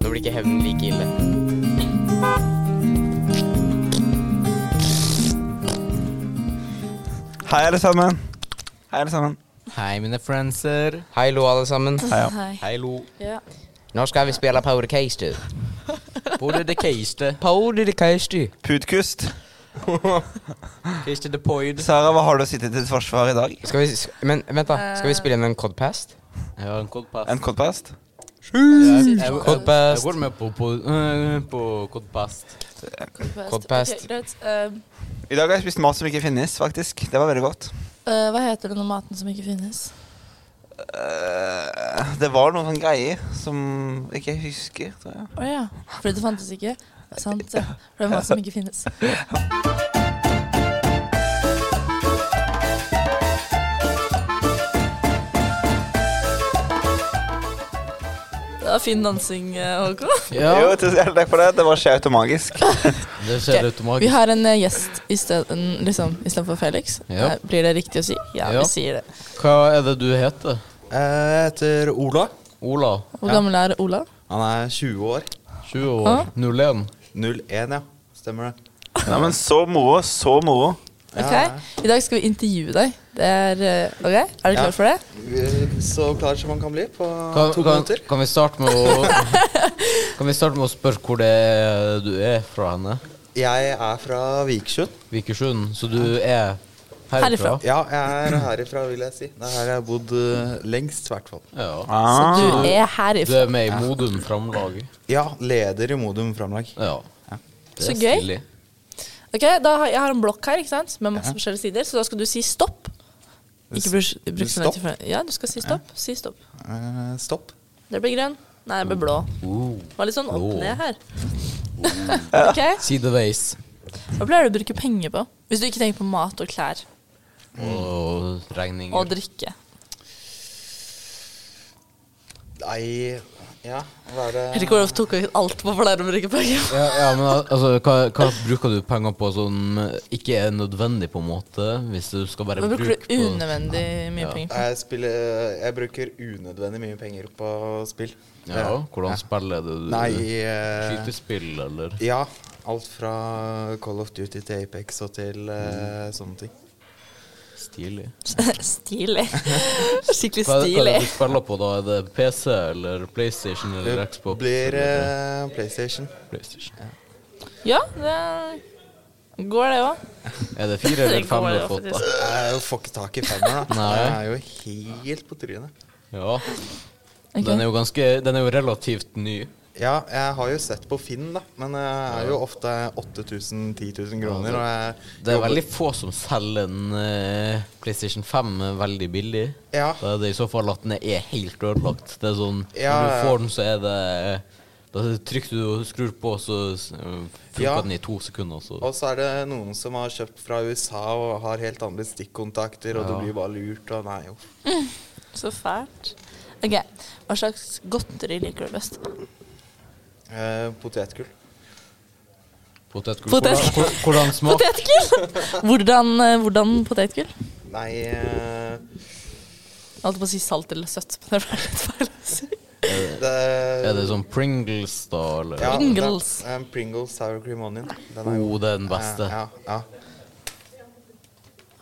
Nå blir ikke hevnen like ille. Hei, alle sammen. Hei, alle sammen. Hei, mine friendser. Hei, lo, alle sammen. Hei, ja. Hei. Hei, lo. Ja. Nå skal vi spille Powder Case, du. Hvor er det keiste? Powder Case, du. Putkust. Keiste the poid. Sara, hva har du å sitte til forsvar i dag? Skal vi s- Men vent, da. Skal vi spille inn en Codpast? Jeg har en kodpass. En kodpast? Jeg Codpast. går med på, på, øh, på kodpast. Codpast. Codpast. Ok, greit. Eh, I dag har jeg spist mat som ikke finnes, faktisk. Det var veldig godt. eh, hva heter den maten som ikke finnes? Eh, det var noen sånne greier som ikke jeg husker, tror jeg. Å ja. Fordi det fantes ikke? Sant. Ja. For det er mat som ikke finnes. Det var fin dansing, eh, Håkon. Jo, tusen hjertelig takk for det. Det var skjevt og magisk. Det skjer Ok, Vi automatisk. har en eh, gjest istedenfor liksom, i stedet for Felix. Ja. Eh, Blir det riktig å si? Ja, Ja. vi sier det. Hva er det du heter? Eh, Jeg heter Ola. Ola. Hvor gammel er Ola? Han er 20 år. 20 år. Hæ? 01. 01, ja. Stemmer det. Nei, men så moro, så moro. Ok, Ja. I dag skal vi intervjue deg. Det er, eh, ok, er du Ja. klar for det? Så klar som man kan bli på Kan, to kan, minutter. kan vi starte med å Kan vi starte med å spørre hvor det er du er fra henne? Jeg er fra Vikersund. Vikersund. Så du er herfra? Herifra. Ja, jeg er herifra, vil jeg si. Det er her jeg har bodd eh, lengst, i hvert fall. Ja. Så Ah. du er Du herifra. er med i Modum Framlag. Ja, leder i Modum Framlag. Ja. Så gøy. Ok, da har, Jeg har en blokk her ikke sant? med masse forskjellige sider, så da skal du si stopp. Ikke bruk, bruk så lang tid for det. Ja, du skal si stopp. Si stopp. Eh, stopp. Det blir grønn. Nei, det blir blå. Uh, Det var litt sånn opp Blå. Oh. ned her. ok, Sideveis. Hva pleier du å bruke penger på? Hvis du ikke tenker på mat og klær Mm. Og regninger. og drikke. Nei Ja, hva er Jeg vet det ikke hvorfor jeg tok ut alt på hva pleier å bruke penger på. Ja, ja, men al- altså, hva, hva bruker du penger på som ikke er nødvendig, på en måte? Hvis du skal bare Nå bruker du bruke på unødvendig mye penger. jeg, spiller, jeg bruker unødvendig mye penger på spill. Ja, hvordan spiller du? Nei eh, Skytespill, eller? Ja. Alt fra Call of Duty til Apex og til Mm. eh, sånne ting. Stilig. Stilig. Skikkelig Hva, er- hva er stilig. det du spiller på, da? Er det PC eller PlayStation eller Det Xbox? blir eller eh, PlayStation. PlayStation. Ja, det går det òg. Er det fire eller Det fem går, du ja, har fått, da? faktisk. Jeg får ikke tak i femmer, da. Nei. Jeg er jo helt på trynet. Ja. Den er jo ganske Den er jo relativt ny. Ja, jeg har jo sett på Finn, da, men jeg er jo ofte 8000 10 000 kroner. Og jeg Det er jobber- veldig få som selger en eh, PlayStation 5 veldig billig. Ja. Da er det i så fall at den er helt ødelagt. Det er sånn, Ja, ja. Når du får den, så er det Da trykker du og skrur på, så s- eh, funker Ja. den i to sekunder. Så. Og så er det noen som har kjøpt fra USA og har helt andre stikkontakter, og du blir bare lurt, og nei, jo. Så fælt. Ok, Hva slags godteri liker du best? Eh, potetgull. Potetgull. Potet- Hvordan- Hvordan, hvordan smaker Potetgull! Hvordan, eh, hvordan potetgull? Nei eh, Jeg holdt på å si salt eller søtt. men det ble litt feil å si. det, Er det sånn Pringles, da? Eller? ja, det- Pringles. eh, Pringles sour cream onion. Den Oh, god. det er den beste. Eh, ja, ja.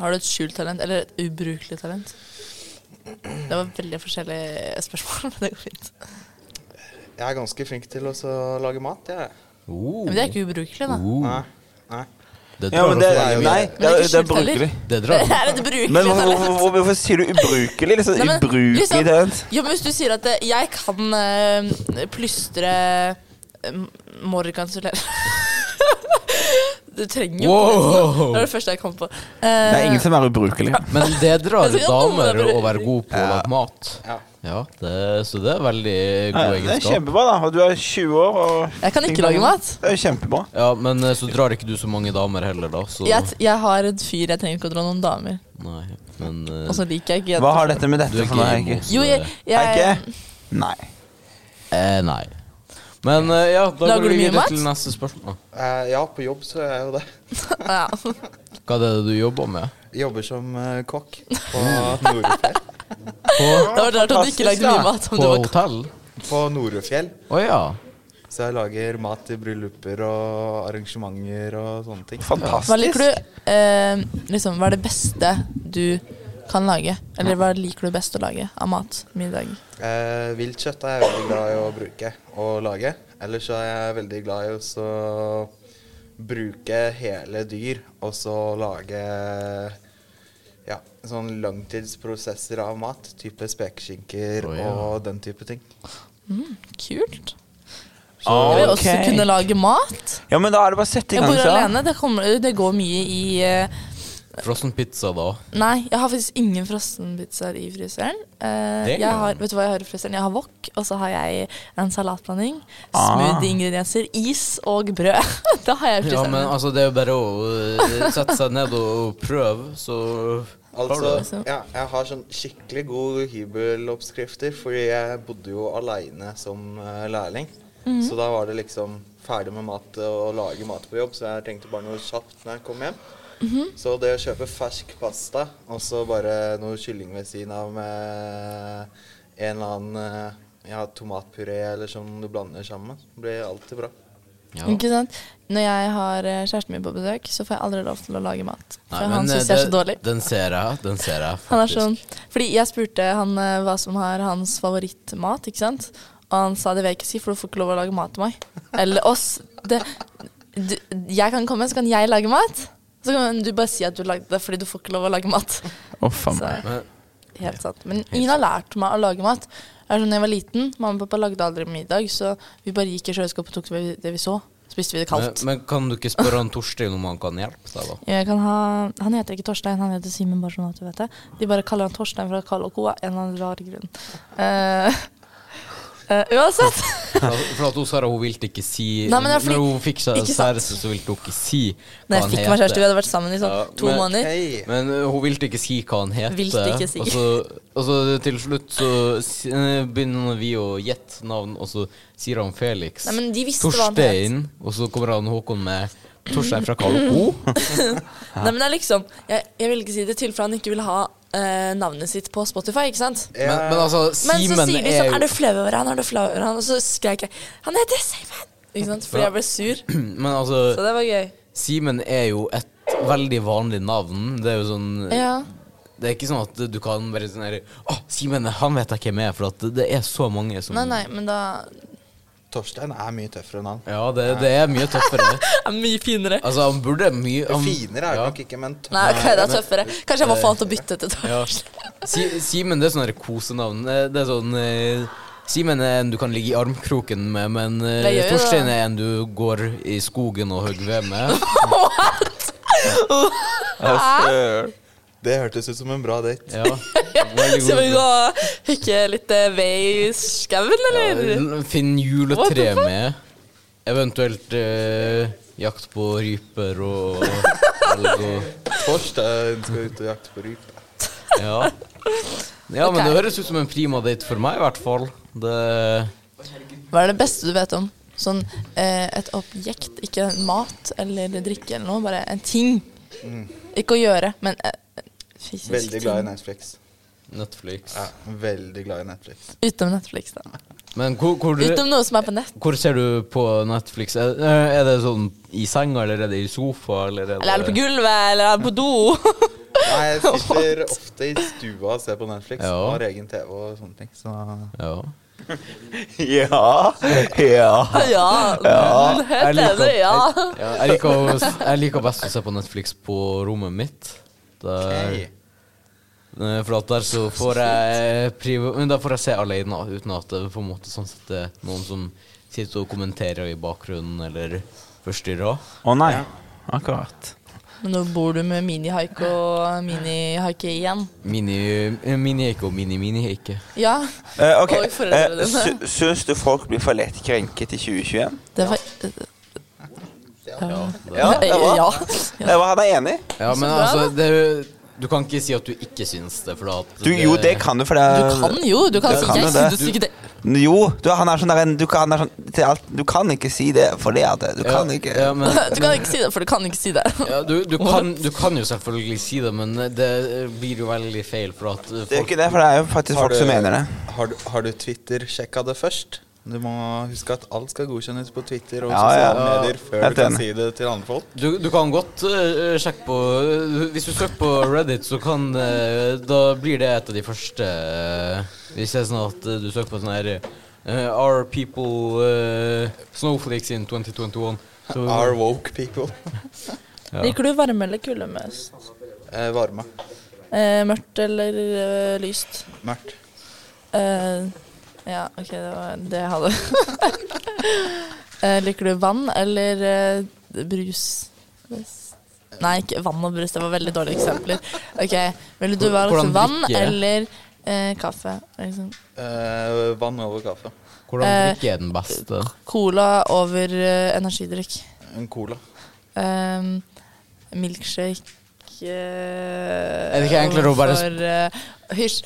Har du et skjult talent, eller et ubrukelig talent? Det var veldig forskjellige spørsmål, men det går fint. Jeg er ganske flink til å så lage mat, jeg. Oh. Men det er ikke ubrukelig, da. Oh. Nei, nei. Det Ja, drar men det, oss veldig mye. nei, det, er- ikke det er skjult heller. brukelig. Det Det drar. er et ubrukelig Men hvorfor, talent. hvorfor, hvorfor sier du ubrukelig? Litt sånn Nei, men ubrukelig liksom- talent. Ja, men hvis du sier at eh, jeg kan eh, plystre eh, morgenkanseller Du trenger jo ikke det. Det var Wow. det første jeg kom på. Eh, Det er ingen som er ubrukelig. Men det drar Jeg tror alle damer blir- å være god på å lage mat. Ja. Ja, det, så det er veldig Ja, god det er egenskap. kjempebra, da. Og du er 20 år og Jeg kan ikke lage mat. Det er jo kjempebra. Ja, men eh, så drar ikke du så mange damer heller, da. Så Jeg, t- jeg har en fyr jeg trenger ikke å dra noen damer. nei. Men eh, Og så liker jeg ikke Hva jenter. har dette med du dette er for noe, ikke Heikki? emo, så Jo, jeg, det- jeg, Heikki? Nei. eh, Nei. Men eh, ja, da Lager går du vi mye videre mat? til neste spørsmål. Eh, ja, på jobb så er jeg jo det. ja. Hva er det du jobber med? Jobber som eh, kokk på Norefjell. På, Det var rart at du ikke lagde mye mat. Om du på var hotell? På Norefjell. Å ja. Så jeg lager mat til brylluper og arrangementer og sånne ting. Fantastisk. Hva liker du eh, liksom, Hva er det beste du kan lage? Eller hva liker du best å lage av mat? Middag? Eh, vilt kjøtt er jeg veldig glad i å bruke og lage. Ellers så er jeg veldig glad i også å bruke hele dyr og så lage ja, sånn langtidsprosesser av mat. Type spekeskinker Å, ja. og den type ting. Kult. Ah, Jeg vil ok. også kunne lage mat. Ja, men da er det bare å sette i Jeg gang, bor så. alene. Det, kommer, det går mye i eh, Frossen pizza, da. Nei, jeg har faktisk ingen frossenpizzaer i fryseren. Eh, Det er jeg har, vet du hva jeg har i fryseren? Jeg har wok, og så har jeg en salatblanding. Ah. Smoothie ingredienser, is og brød. det har jeg i Ja, fryseren. men altså, det er jo bare å eh, sette seg ned og prøve, så Altså, ja, jeg har sånn skikkelig gode hybeloppskrifter, fordi jeg bodde jo aleine som eh, lærling. Mhm. Så da var det liksom ferdig med mat eh, og lage mat på jobb, så jeg tenkte bare noe kjapt når jeg kom hjem. Mhm. Så det å kjøpe fersk pasta og så bare noe kylling ved siden av med en eller annen eh, ja, tomatpuré eller som du blander sammen med, blir alltid bra. ja. Ikke sant? Når jeg har eh, kjæresten min på besøk, så får jeg aldri lov til å lage mat. For Nei, men, han eh, syns jeg er det- så dårlig. Den ser jeg, den ser jeg faktisk. Han er sånn, fordi jeg spurte han eh, hva som er hans favorittmat, ikke sant? Og han sa det vil jeg ikke si, for du får ikke lov å lage mat til meg. Eller oss. Det, du, jeg kan komme, så kan jeg lage mat. Så kan du bare si at du lagde det fordi du får ikke lov å lage mat. Å, faen Så, meg. Men- helt sant. Men ingen har lært meg å lage mat. Jeg er sånn, jeg var liten, mamma og pappa lagde aldri middag, så vi bare gikk i kjøleskapet og tok det vi, det vi så. Spiste vi det Men, kaldt. men kan du ikke spørre han Torstein om han kan hjelpe deg, da? Jeg kan ha, han heter ikke Torstein, han heter Simen, bare sånn at du vet det. De bare kaller han Torstein fra Karl og Co. av en eller annen rar grunn. Eh, eh, uansett. For for at hun Sara hun ville ikke si Nei, men det er fordi- Når hun fikk seg ikke sant. kjæreste, så ville hun ikke si hva Når jeg han fikk meg heter. kjæreste, vi hadde vært sammen i sånn Ja, to men- måneder. Hei! Men eh, hun ville ikke si hva han heter. Ville ikke si. Og så, og så til slutt så si- eh, begynner vi å gjette navn, og så sier han Felix. Nei, men de visste hva han het. Torstein, og så kommer han Håkon med Torstein fra Karl O. Nei, men det er liksom, jeg, jeg ville ikke si det til, for han ikke ville ha eh, navnet sitt på Spotify, ikke sant? Men, men altså, Men så Simen sier de er sånn, jo er du flau over han, er du flau over han? Og så skrek jeg, han heter Simen! Ikke sant? Fordi jeg ble sur. Men altså, Så det var gøy. Simen er jo et veldig vanlig navn. Det er jo sånn Ja. Det er ikke sånn at du kan bare sånn her Å, Simen, han vet jeg hvem er, for at det er så mange som Nei, nei, men da Torstein er mye tøffere enn han. Ja, det, det er mye tøffere. er mye finere. Altså, han burde mye han, Finere er det ja. nok ikke, men tøff. Nei, ok, det er tøffere. Kanskje jeg var faen til å bytte til Ja. Torstein. Si, Simen det er sånn her kosenavn. Eh, Det er sånn eh, Simen er en du kan ligge i armkroken med, men eh, Jeg gjør jo Torstein det. er en du går i skogen og hogger ved med. Hæ? Det hørtes ut som en bra date. Ja. Veldig Skal vi god. gå og hooke litt eh, ved i skauen, eller? Ja, Finn What the juletre fuck? med. Eventuelt eh, jakt på ryper og, elg og Torstein eh, skal ut og jakte på ryp. da. Ja. Ja, men Ok. det høres ut som en prima date for meg, i hvert fall. Det Hva er det beste du vet om? Sånn eh, et objekt, ikke mat eller drikke eller noe, bare en ting. Ikke å gjøre, men eh, fysisk Mm. Veldig glad i ting. Netflix. Netflix. Ja, veldig glad i Netflix. Utenom Netflix, da. Men hvor, hvor Utenom noe som er på nett. Hvor ser du på Netflix? Er, er det sånn i senga, eller er det i sofa, eller er det Eller er det på gulvet, eller er det på do? Nei, jeg sitter ofte i stua og ser på Netflix. Ja. Og har egen TV og sånne ting. Så Ja. Ja. Ja. ja. Jeg Helt liker, enig, ja. jeg, ja, jeg, liker, å- jeg liker best å se på Netflix på rommet mitt. Der, Ok. Eh, For at der så får jeg priva, men Da får jeg se alene, uten at det på en måte sånn sett er noen som sitter og kommenterer i bakgrunnen, eller forstyrrer. Å nei. Akkurat. Men nå bor du med minihaik og minihaike igjen. Mini- eh, Mini-hake og mini-mini-hake. Ja. Eh, ok, Og foreldrene eh, sy Syns du folk blir for lett krenket i 2021? Det var Ja, det var, Ja. Det var Eh, han er enig. Ja, men Så bra, altså, det, er jo- du kan ikke si at du ikke syns det, for at Du, jo, det kan du, for det Du kan jo. Du kan Det si kan jeg jo det. synes ikke det. Jo, du, han er sånn der en- du, kan- han er sånn, til alt, du kan ikke si det fordi at Du Ja, kan ikke ja, men, Du kan ikke si det, for du kan ikke si det. ja, du, du, kan, du kan jo selvfølgelig si det, men det blir jo veldig feil. For at Det er jo folk, ikke det, for det er jo faktisk Har folk som du- mener det. Har du, har du Twitter-sjekka det først? Du må huske at alt skal godkjennes på Twitter og Ja, ja. sosiale medier før Helt du kan enig. si det til andre folk. Du, du kan godt eh, sjekke på Hvis du søker på Reddit, så kan eh, Da blir det et av de første eh, Hvis det er sånn at eh, du søker på sånn her eh, Are people eh, snowflakes in 2021? Så, Are woke people. Ja. Liker du varme eller kulde mest? Eh, varme. Eh, mørkt eller eh, lyst? Mørkt. Eh, ja, OK, det var det jeg hadde. eh, liker du vann eller eh, brus? Best. Nei, ikke vann og brus. Det var veldig dårlige eksempler. Ok, Ville du valgt Hvordan vann drikke? eller eh, kaffe? Liksom. Eh, vann over kaffe. Hvordan Eh, drikke er den beste? Cola over eh, energidrikk. En cola. Ehm, milkshake eh, Er det ikke enklere å bare- Overfor eh, Hysj.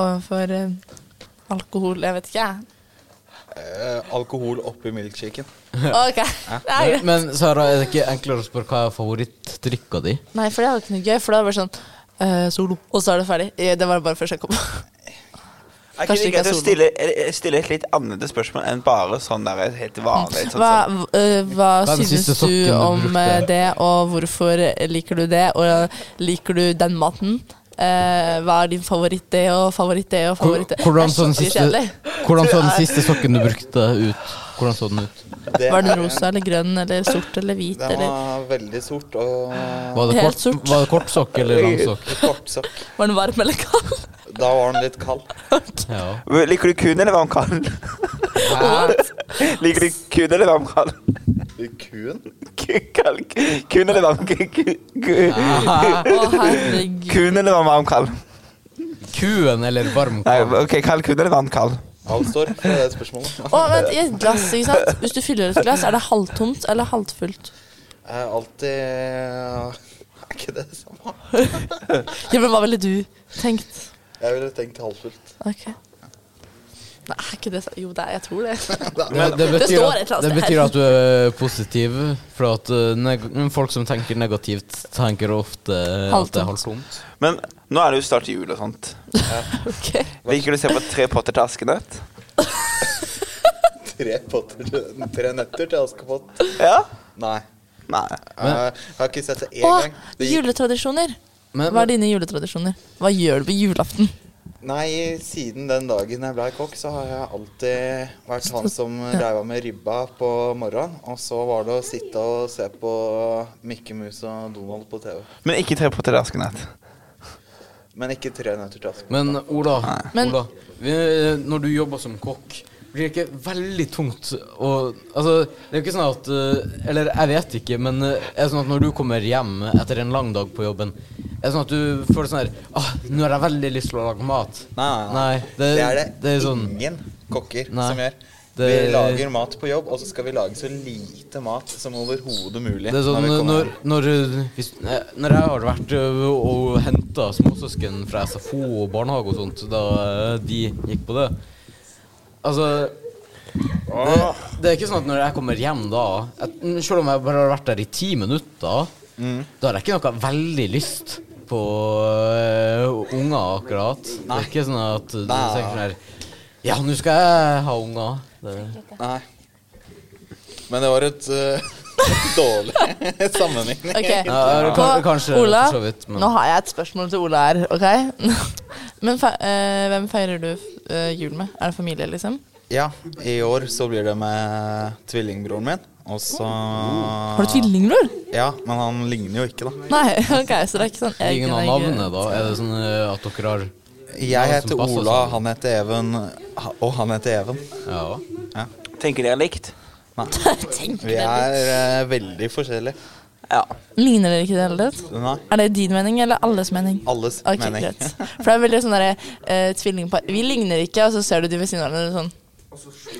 Overfor eh, alkohol Jeg vet ikke, jeg. Eh, alkohol oppi milkshaken. OK. Det er greit. Eh, Men Sara, er det ikke enklere å spørre hva er favorittdrikka di? Nei, for det er jo ikke noe gøy. For da er det bare sånn eh, Solo. Og så er det ferdig. Eh, Det var bare for å sjekke opp. Er ikke det Kanskje ikke greit å solo. stille, eh, stille et litt annerledes spørsmål enn bare sånn der helt vanlig? Sånn, Hva, sånn. eh, hva Hva er den synes siste sokken du du om brukte? eh, det, og hvorfor liker du det? Og eh, liker du den maten? Eh, hva er din favoritt det og favoritt det og favoritt det? Hvordan Det er så den skikkelig siste, kjedelig. hvordan så den siste sokken du brukte ut? Hvordan så den ut? Det Var den er en- rosa eller grønn eller sort eller hvit Den eller var veldig sort og Var det, Helt kort, sort. var det kort sokk eller lang sokk? kortsokk. Var den varm eller kald? Da var den litt kald. Ja. Liker du kun eller varm kald? Liker du kun eller varm kald? Kuen? Kun- kald- Kun eller varm ku- ku- ku- Å, herregud. Kun eller varm varm kald? Kuen eller varm Nei, kald? ok, kald kun eller varm kald? Alt står for det spørsmålet. Å, vent, i et glass, ikke sant? Hvis du fyller et glass, er det halvtomt eller halvfullt? Jeg er alltid Er ikke det det samme? Ja, men hva ville du tenkt? Jeg ville tenkt halvfullt. Ok. Nei, er ikke det så- Jo, det er, jeg tror det. Men det Det betyr, står et at, eller annet det sted betyr her. at du er positiv, for at eh, neg folk som tenker negativt, tenker ofte at det er halvtomt. Men nå er det jo snart jul og sånt. Ok. Liker du å se på Tre potter til Askenøtt? Tre, potter, tre nøtter til Askepott. Ja? Nei. Eh, Nei. Jeg har ikke sett det én Å, gang. Det gikk, juletradisjoner. Men, Hva er dine juletradisjoner? Hva gjør du på julaften? nei, siden den dagen jeg ble kokk, så har jeg alltid vært han som reiva med ribba på morgenen. Og så var det å sitte og se på Mikke Mus og Donald på TV. Men ikke Tre potter til Askenøtt. Men ikke Tre nøtter til Askepott. men Ola, Men- Ola vi, når du jobber som kokk, blir det ikke veldig tungt å Altså, det er jo ikke sånn at eh, Eller jeg vet ikke, men eh, er det sånn at når du kommer hjem etter en lang dag på jobben, er det sånn at du føler sånn her ah, Nå har jeg veldig lyst til å lage mat. Det, det, er det, det er sånn ingen kokker Nei. som gjør. Vi Det- lager mat på jobb, og så skal vi lage så lite mat som overhodet mulig. Det er sånn, når vi når, kommer når, hjem. eh, hvis, eh, når jeg har vært eh, og henta småsøsken fra SFO og barnehage og sånt, da eh, de gikk på det Altså det, det er ikke sånn at når jeg kommer hjem da at, mm, Selv om jeg bare har vært der i ti minutter, da har jeg ikke noe veldig lyst på eh, unger, akkurat. Det er ikke sånn at du Nei. tenker sånn her Ja, nå skal jeg ha unger. Det, Nei. Men det var et eh, dårlig sammenligning. Ok, Ja, det kan- Nå- kanskje, Ola, for så vidt, men- nå har jeg et spørsmål til Ola her, ok? men fe eh, hvem feirer du eh, jul med? Er det familie, liksom? Ja, i år så blir det med tvillingbroren min, og så Har Ah. du tvillingbror? Ja, men han ligner jo ikke, da. Nei, ok, så det er ikke sånn ingen av egg- navnene, da? Er det sånn eh, at dere har Jeg Ja, heter som passer sånn. Ola, sammen. han heter Even, ha- og han heter Even. Ja. Tenker dere likt? Tenk Vi deg er litt. eh, veldig forskjellige. Ja. Ligner dere ikke i det hele tatt? Nei, Er det din mening eller alles mening? alles Ok, mening. greit. For det er veldig sånn derre eh, tvillingpar Vi ligner ikke, og så ser du de ved siden av hverandre sånn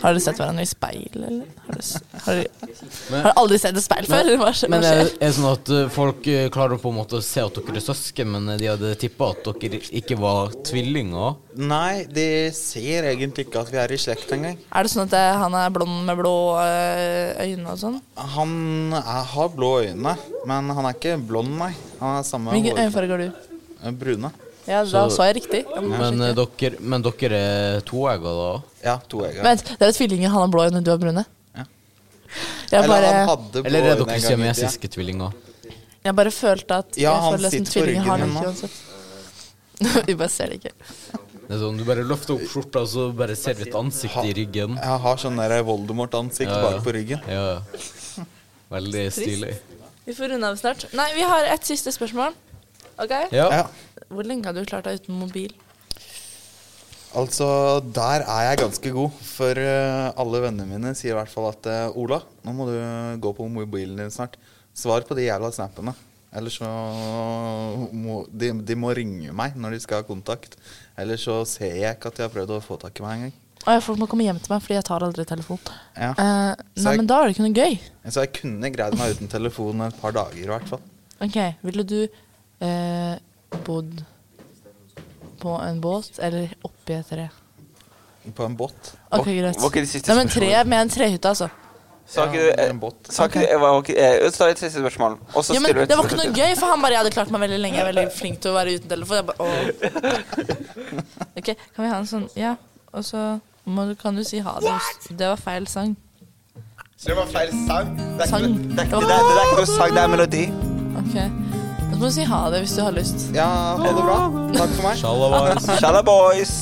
Har dere sett hverandre i speil, eller? Har du, s- har du, har du aldri sett et speil før? Hva skjer? Men Hva er, skjer? er det sånn at eh, folk eh, klarer på en måte å se at dere er søsken, men eh, de hadde tippa at dere ikke var tvillinger? Nei, de ser egentlig ikke at vi er i slekt engang. Er det sånn at eh, han er blond med blå eh, øyne og sånn? Han er, har blå øyne, men han er ikke blond, nei. Han er samme Hvilken hårfarge. Eh, øyefarge har du? Brune. Ja, da Så- så jeg riktig. Jeg må Men, eh, sjekke. dere, men dere er toegga da? Ja, to egg. ja. Vent, det er tvillinger. Han har blå øyne, du har brune. Ja. Jeg Eller bare, han hadde Eller er blå øyne en dere gang i tida. siamesiske tvillinger? jeg bare følte at Ja, jeg han føler nesten sitter på tvillinger har det ryggen ikke min uansett. Vi bare ser det ikke. Det er sånn, Du bare løfter opp skjorta, og så bare ser du et ansikt i ryggen. Jeg har sånn der Voldemort-ansikt Ja, ja. bak på ryggen. Ja, ja. Veldig stilig. Vi får runde av snart. Nei, vi har et siste spørsmål. Ok? Ja. Ja. Hvor lenge har du klart deg uten mobil? Altså, der er jeg ganske god. For eh, alle vennene mine sier i hvert fall at eh, Ola, nå må du gå på mobilen din snart. Svar på de jævla snappene. Eller så må de, de må ringe meg når de skal ha kontakt. Eller så ser jeg ikke at de har prøvd å få tak i meg engang. Å, ja, folk må komme hjem til meg, fordi jeg tar aldri telefon. Ja. Eh, Så nei, jeg- men da er det ikke noe gøy. Så jeg kunne greid meg uten telefon et par dager i hvert fall. Ok, ville du eh, bodd på en båt eller oppi et tre? På en båt. Ok, Var- greit. var ikke det siste Nei, men spørsmålet? tre med en trehytte, altså. Sa ikke Ja, du eh, en båt. Sa ikke du jeg var ikke- eh, Så er det et siste spørsmål. Og så Ja, men stiller du et det var ikke noe spørsmål. gøy, for han bare Jeg hadde klart meg veldig lenge. Jeg er veldig flink til å være uten telefon. Jeg bare, åh. Ok, kan vi ha en sånn Ja, og så må du, kan du si ha det. Det var feil sang. Det var feil sang. Det er ikke, Sang. det er ikke, det er, det er ikke noe sang, det er melodi. Ok. Så må du si ha det hvis du har lyst. Ja, ha det bra. Takk for meg. Shalawais. Shalla boys.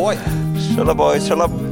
Oi. Shalla boys, shalla boys.